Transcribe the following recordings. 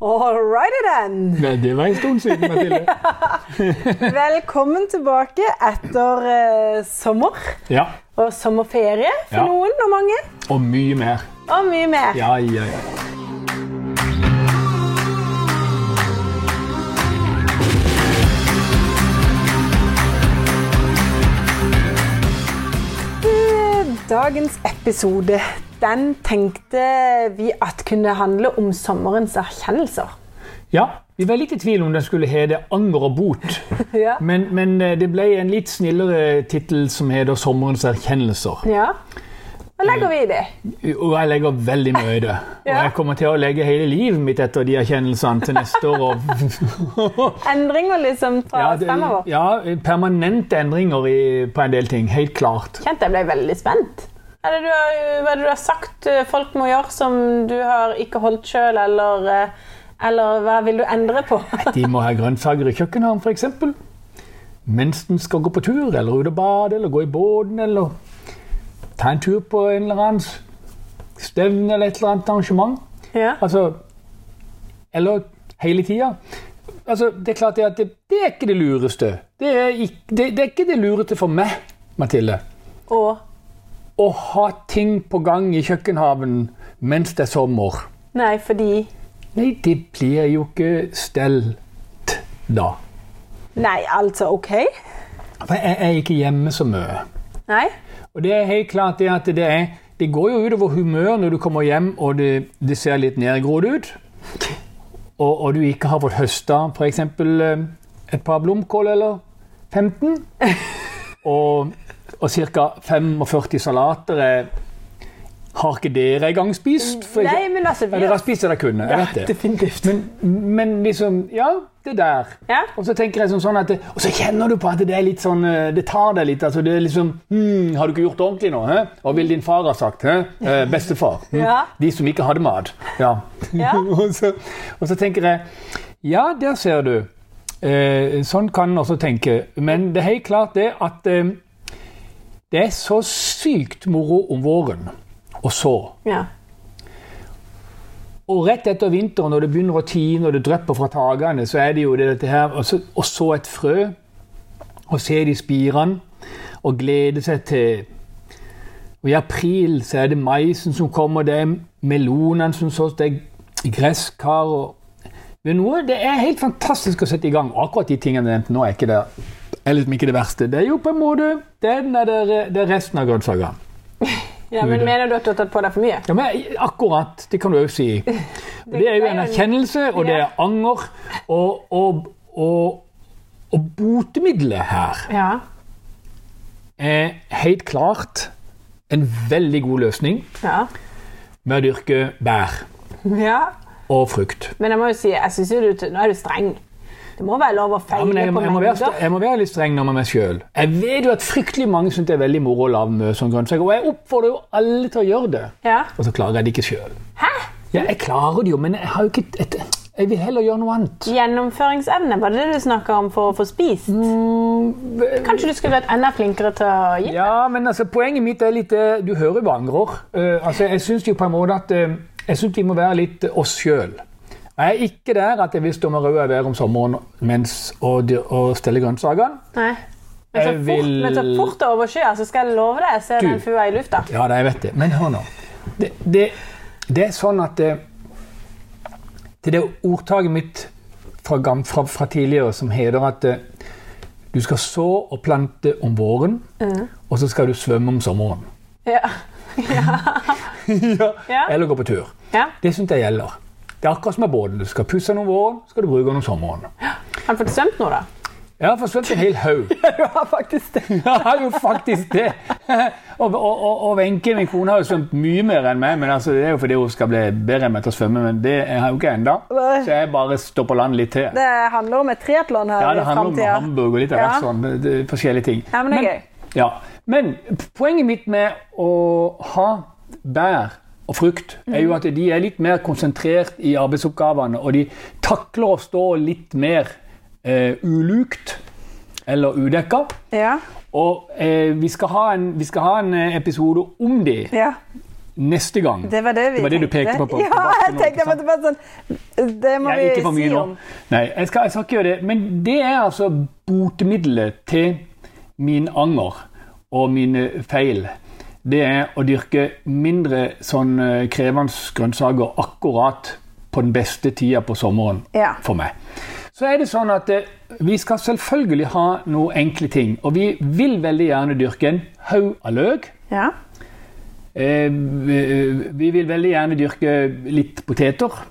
All righty then! Nei, det var en stund siden, Mathilde. Velkommen tilbake etter eh, sommer Ja. og sommerferie for Ja. noen og mange. Og mye mer. Og mye mer. Ja, ja, ja. Eh, Dagens episode den tenkte vi at kunne handle om sommerens erkjennelser. Ja, Vi var litt i tvil om den skulle hete 'Anger og bot', Ja. men, men eh, det ble en litt snillere tittel som heter 'Sommerens erkjennelser'. ja. Hva legger vi i det? Og jeg legger veldig mye i det. Og Ja. jeg kommer til å legge hele livet mitt etter de erkjennelsene til neste år. Og Endringer liksom fra det- fremover? ja, permanente endringer i, på en del ting. Helt klart. Kjente jeg ble veldig spent. Hva er det du har, hva er det du har sagt eh, folk må gjøre som du har ikke holdt sjøl, eller, eh, eller hva vil du endre på? De må ha grønnsaker i kjøkkenhavn, f.eks. Mens den skal gå på tur, eller ut og bade, eller gå i båten, eller ta en tur på en eller annen s- stevne eller et eller annet arrangement. Ja. Altså Eller hele tida. Altså, det er klart det at det, det er ikke det lureste. Det er, ikk- det, det er ikke det lureste for meg, Mathilde, Og å ha ting på gang i kjøkkenhaven mens det er sommer. Nei, fordi Nei, det blir jo ikke stelt da. Nei, altså, OK. For jeg er ikke hjemme så mye. Nei. Og det er helt klart det at det er Det går jo utover humøret når du kommer hjem og det, det ser litt nedgrodd ut, og, og du ikke har fått høsta f.eks. eh, et par blomkål eller 15, og, og ca. 45 salater er, har ikke dere engang spist? for Nei, eksempel? men altså vi Ja, dere har... har spist det dere kunne. Jeg vet det. Definitivt. Men, men liksom Ja, det der. Ja. Og så tenker jeg sånn, sånn at det, Og så kjenner du på at det er litt sånn eh, Det tar deg litt. altså det er liksom hmm, 'Har du ikke gjort det ordentlig nå?' Hæ? Hva ville din far ha sagt? Hæ? Eh, bestefar. hm? Ja. De som ikke hadde mat. Ja. Ja. og, så, og så tenker jeg Ja, der ser du. Eh, sånn kan en også tenke. Men det er helt klart det at eh, det er så sykt moro om våren. Og så Ja. og rett etter vinteren, når det begynner å tine og det drypper fra takene, så er det jo det, dette her Og så, og så et frø, og se de spirene, og glede seg til Og i april så er det maisen som kommer, det er melonene som sås, det er gresskar og Men noe, det er helt fantastisk å sette i gang. Og akkurat de tingene jeg nevnte nå, er ikke det, er liksom ikke det verste. Det er jo på en måte det er, den der, det er resten av grønnsakene. ja, men Ude. Mener du at du har tatt på deg for mye? Ja, men Akkurat. Det kan du òg si. Det er jo en erkjennelse, og det er anger. Og, og, og, og botemiddelet her Ja. er helt klart en veldig god løsning Ja. med å dyrke bær ja. og frukt. Men jeg må jo si, jeg synes jo du Nå er du streng. Det må være lov å Ja, men feile jeg, på jeg, må være, mengder. jeg må være litt streng nå med meg sjøl. Jeg vet jo at fryktelig mange syns det er veldig moro å lage mye som grønnsaker, og jeg oppfordrer jo alle til å gjøre det. Ja. Og så klarer jeg det ikke sjøl. Hæ? Ja, jeg klarer det jo, men jeg har jo ikke et, Jeg vil heller gjøre noe annet. Gjennomføringsevne, var det det du snakka om for å få spist? Kanskje du skulle vært enda flinkere til å gi? Mm, Ja, men altså, poenget mitt er litt eh, Du hører jo angrer. Eh, altså, jeg syns jo på en måte at eh, Jeg syns vi må være litt eh, oss sjøl. Jeg er ikke der at jeg vil stå med røde vær om sommeren mens og, dyr- og stelle grønnsakene. Nei. Men så Jeg fort, vil- men så fort det overskyer, så skal jeg love deg, jeg ser Du. den fua i lufta. Ja, da, jeg vet det. Men hør nå. Det, det, det er sånn at eh, Til det ordtaket mitt fra, gam- fra, fra tidligere som heter at eh, du skal så og plante om våren, og så skal du svømme om sommeren. Ja. ja. Ja. Eller gå på tur. ja. Det syns jeg gjelder. Det er akkurat som med båten. Du skal pusse den om våren, skal du bruke den om sommeren. Har du fått svømt nå, da? Jeg har forsvunnet en hel haug. Du har faktisk det. Jeg har jo faktisk det. Og, og, og, og Wenche, min kone, har jo svømt mye mer enn meg. Men altså, det er jo fordi hun skal bli bedre enn meg til å svømme, men det har jeg jo ikke ennå. Nei. Så jeg bare står på land litt til. Det handler om et triatlon her. Ja, i det handler om fremtiden. Hamburg og litt av Ja. hvert sånn. Det, det, forskjellige ting. Ja, men det er gøy. Ja. Men poenget mitt med å ha bær og frukt er Mm. jo at de er litt mer konsentrert i arbeidsoppgavene, og de takler å stå litt mer eh, ulukt eller udekka. Ja, Og eh, vi, skal ha en, vi skal ha en eh, episode om de, ja. neste gang. Det var det vi Det var det du tenkte. pekte på på- på ja, bakken jeg nå, tenkte jeg ikke måtte bare sånn Det må Ja, vi ikke for mye si nå. om. Nei, jeg skal, jeg skal ikke gjøre det. Men det er altså botemiddelet til min anger og mine feil. Det er å dyrke mindre sånn eh, krevende grønnsaker akkurat på den beste tida på sommeren Ja. for meg. Så er det sånn at eh, vi skal selvfølgelig ha noen enkle ting. Og vi vil veldig gjerne dyrke en haug av løk. Ja. Eh, vi vi vil veldig gjerne dyrke litt poteter.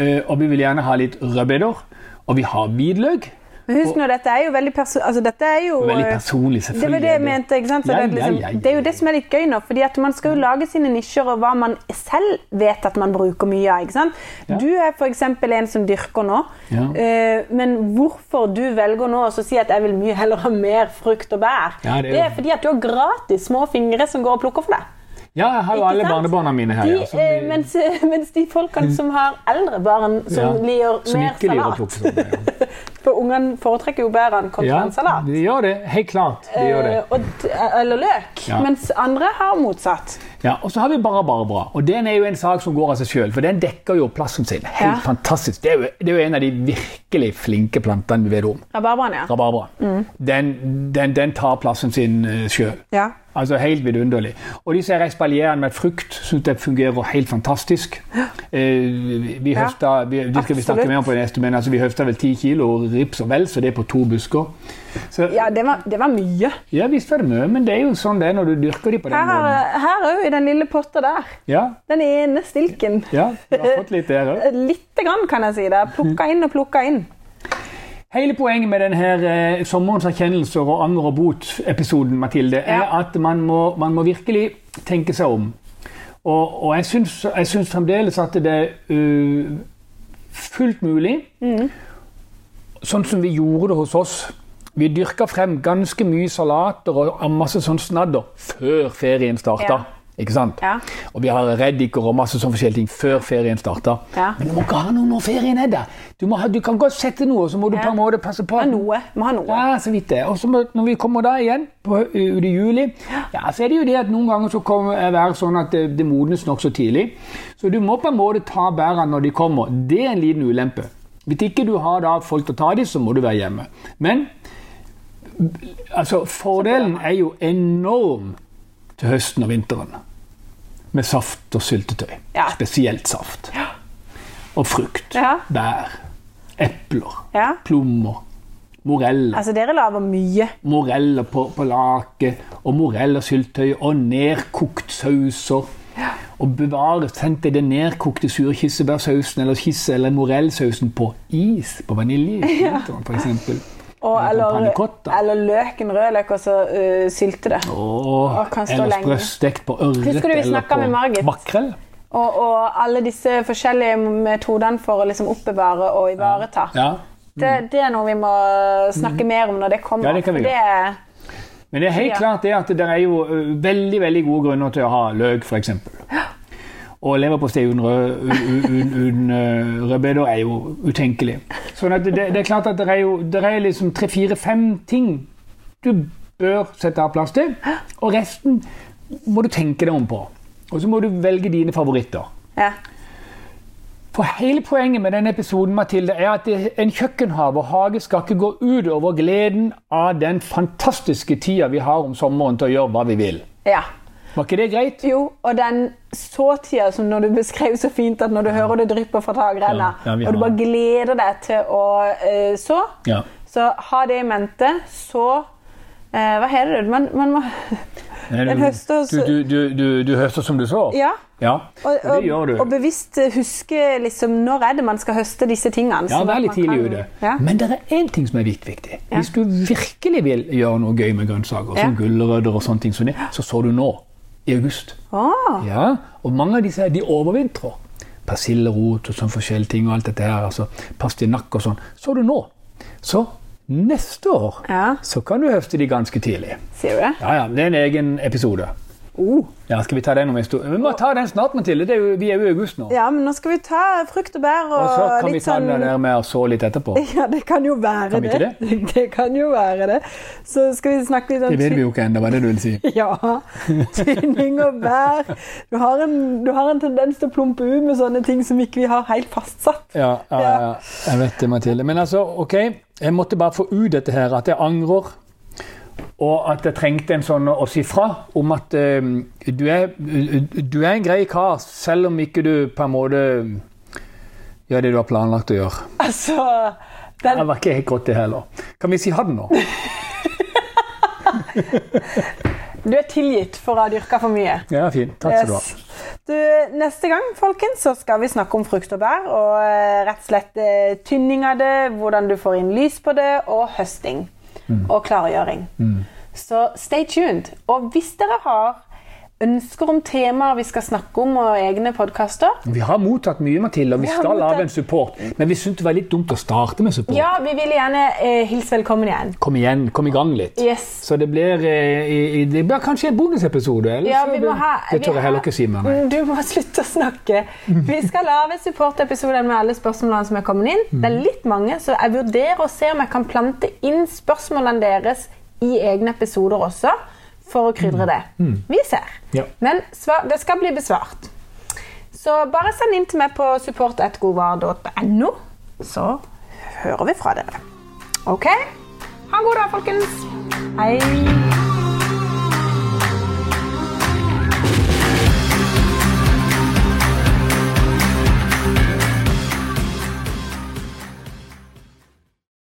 Eh, og vi vil gjerne ha litt rødbeter. Og vi har hvitløk. Men husk nå, dette er jo veldig perso... Altså, dette er jo Veldig personlig, Det selvfølgelig. var det jeg mente. ikke sant? Så Ja, det, er liksom, ja, ja, ja. det er jo det som er litt gøy nå. fordi at Man skal jo lage sine nisjer og hva man selv vet at man bruker mye av. ikke sant? Ja. Du er f.eks. en som dyrker nå. Ja. eh, Men hvorfor du velger nå å så si at jeg vil mye heller ha mer frukt og bær, Ja, det, det er er jo- fordi at du har gratis små fingre som går og plukker for deg. Ja, jeg har jo Ikke alle sant? barnebarna mine her. De, ja, som eh, altså, vi- mens, mens de folkene som har eldre barn, som ja, liker som mer ikke liker å plukke salat sånn, ja. For ungene foretrekker jo bærene kontra Ja, en salat. de gjør det. Helt klart. De gjør det. Eh, og, d- eller løk. Ja. Mens andre har motsatt. Ja, og så har vi Bara Barbara. Og den er jo en sak som går av seg sjøl, for den dekker jo plassen sin. Helt Ja. fantastisk. Det er, jo, det er jo en av de virkelig flinke plantene vi vet om. Rabarbraen, ja. Rabarbra. Mm. Den, den, den tar plassen sin eh, sjøl. ja. Altså helt vidunderlig. Og disse her espaljerende med frukt syns jeg fungerer helt fantastisk. Eh, vi- vi Ja, høsta, vi, det skal vi snakke absolutt. mer om på neste, men altså, vi høsta vel ti kilo rips og vel, så det er på to busker. Så, ja. Ja, det var, det var mye. visst var det mye, men det er jo sånn det er når du dyrker de på den Her måten. er- her òg, i den lille potta der. Ja, Den ene stilken. ja, du har fått litt der òg. Lite grann, kan jeg si. det. Plukka inn og plukka inn. Hele poenget med denne eh, sommerens erkjennelser og anger og bot-episoden Mathilde, er Ja. at man må, man må virkelig tenke seg om. Og, og jeg, syns, jeg syns fremdeles at det er eh, fullt mulig, Mm. sånn som vi gjorde det hos oss. Vi dyrka frem ganske mye salater og masse sånn snadder før ferien starta. Ja. Ikke sant? Ja. Og vi har reddiker og masse sånn forskjellige ting før ferien starter. Ja. Men du må ikke ha noe når ferien er der. Du, må ha, du kan godt sette noe, så må du Ja. på en måte passe på. Ha noe. Må ha noe. Ja, så vidt det. Og så må- når vi kommer da igjen, på, hø- ut i juli, ja, så er det jo det at noen ganger så kommer det være sånn at det, det modnes nokså tidlig. Så du må på en måte ta bærene når de kommer. Det er en liten ulempe. Hvis ikke du har da folk til å ta dem, så må du være hjemme. Men altså, fordelen er jo enorm til høsten og vinteren. Med saft og syltetøy. Ja. Spesielt saft. Og frukt. Ja. Bær. Epler. Ja. Plommer. Moreller. Altså, dere lager mye. Moreller på, på lake. Og morellersyltetøy. Og nedkokt sauser. Og bevare sendte den nedkokte sure kirsebærsausen eller kisse- eller morellsausen på is. På vanilje, for eksempel. Og, eller, pannekotta. eller løken rødløk, og så øh, sylte det. Åh, Åh, kan stå eller lenge. sprøstekt på ørret Husker du vi eller snakket med Margit? på makrell. Og, og alle disse forskjellige metodene for å liksom oppbevare og ivareta. Ja. Det, det er noe vi må snakke mer om når det kommer. Ja, det kan vi for er- Men det er helt Ja. klart det at det er jo ø, veldig veldig gode grunner til å ha løk, f.eks. Og leverpostei uten, rød, u- u- u- uten ø, rødbeter er jo utenkelig. Sånn at det, det er klart at det er jo det er liksom tre-fire-fem ting du bør sette av plass til. Og resten må du tenke deg om på. Og så må du velge dine favoritter. ja. For hele poenget med denne episoden Mathilde, er at det- en kjøkkenhage og hage skal ikke gå ut over gleden av den fantastiske tida vi har om sommeren til å gjøre hva vi vil. ja. Var ikke det greit? Jo, og den såtida som når du beskrev så fint at når du hører det drypper fra takrenna, Ja, ja, vi og du har- bare gleder deg til å eh, så, Ja. så ha det i mente. Så eh, Hva heter det? Man, man må En høst og så- du, du, du, du høster som du så? Ja. Ja, Og, og det gjør du. og bevisst eh, huske liksom, når er det man skal høste disse tingene. Ja, sånn vær at litt man tidlig kan- ute. Ja. Men det er én ting som er litt viktig. Hvis du virkelig vil gjøre noe gøy med grønnsaker, som Ja. gulrøtter og sånne ting, som det, så så du nå, i august. Å, Ja, og mange av disse her, de overvintrer. Persillerot og sånn forskjellige ting og alt dette her, altså pastinakk og sånn. Så du nå. Så neste år Ja. så kan du høste de ganske tidlig. sier du det? Ja, ja, det er en egen episode. Oh. Ja, skal Vi ta den om en stund? Vi må ta den snart, Mathilde. Det er jo, vi er jo i august nå. Ja, men nå skal vi ta frukt og bær og, Og så kan vi litt ta sånn den der med å så litt etterpå. Ja, det kan jo være Kan vi ikke det. Det kan jo være det. Så skal vi snakke litt om Det vet vi jo ikke ennå, hva er det du vil si. Ja. Tynning og bær. Du har, en, du har en tendens til å plumpe ut med sånne ting som ikke vi har helt fastsatt. Ja, ja, ja, ja. jeg vet det, Mathilde. Men altså, OK. Jeg måtte bare få ut dette her, at jeg angrer. Og at jeg trengte en sånn å si fra om at eh, du, er, du er en grei kar, selv om ikke du på en måte gjør det du har planlagt å gjøre. Altså den, Det var ikke helt godt, det heller. Kan vi si ha det nå? Du er tilgitt for å ha dyrka for mye. Ja, fint. Takk skal du ha. Du, neste gang folkens, så skal vi snakke om frukt og bær, og eh, rett og slett eh, tynning av det, hvordan du får inn lys på det, og høsting. Og klargjøring. Så stay tuned. Og hvis dere har ønsker om temaer vi skal snakke om, og egne podkaster Vi har mottatt mye, Mathilde, og vi Vi har skal lage mottatt- en support. Men vi syntes det var litt dumt å starte med support. Ja, vi vil gjerne eh, hilse velkommen igjen. Kom igjen, kom i gang litt. Yes. Så det blir, eh, i- i- det blir kanskje en bonusepisode. eller Ja, så vi blir- må ha, det tør vi jeg heller har- ikke si mer. Nei. Du må slutte å snakke. Vi skal lage supportepisoder med alle spørsmålene som er kommet inn. Det Mm. er litt mange, så jeg vurderer å se om jeg kan plante inn spørsmålene deres i egne episoder også, for å krydre det. Vi ser. Mm. Ja. Men svar, det skal bli besvart. Så bare send inn til meg på support.godvar.no, så hører vi fra dere. OK? Ha en god dag, folkens. Hei.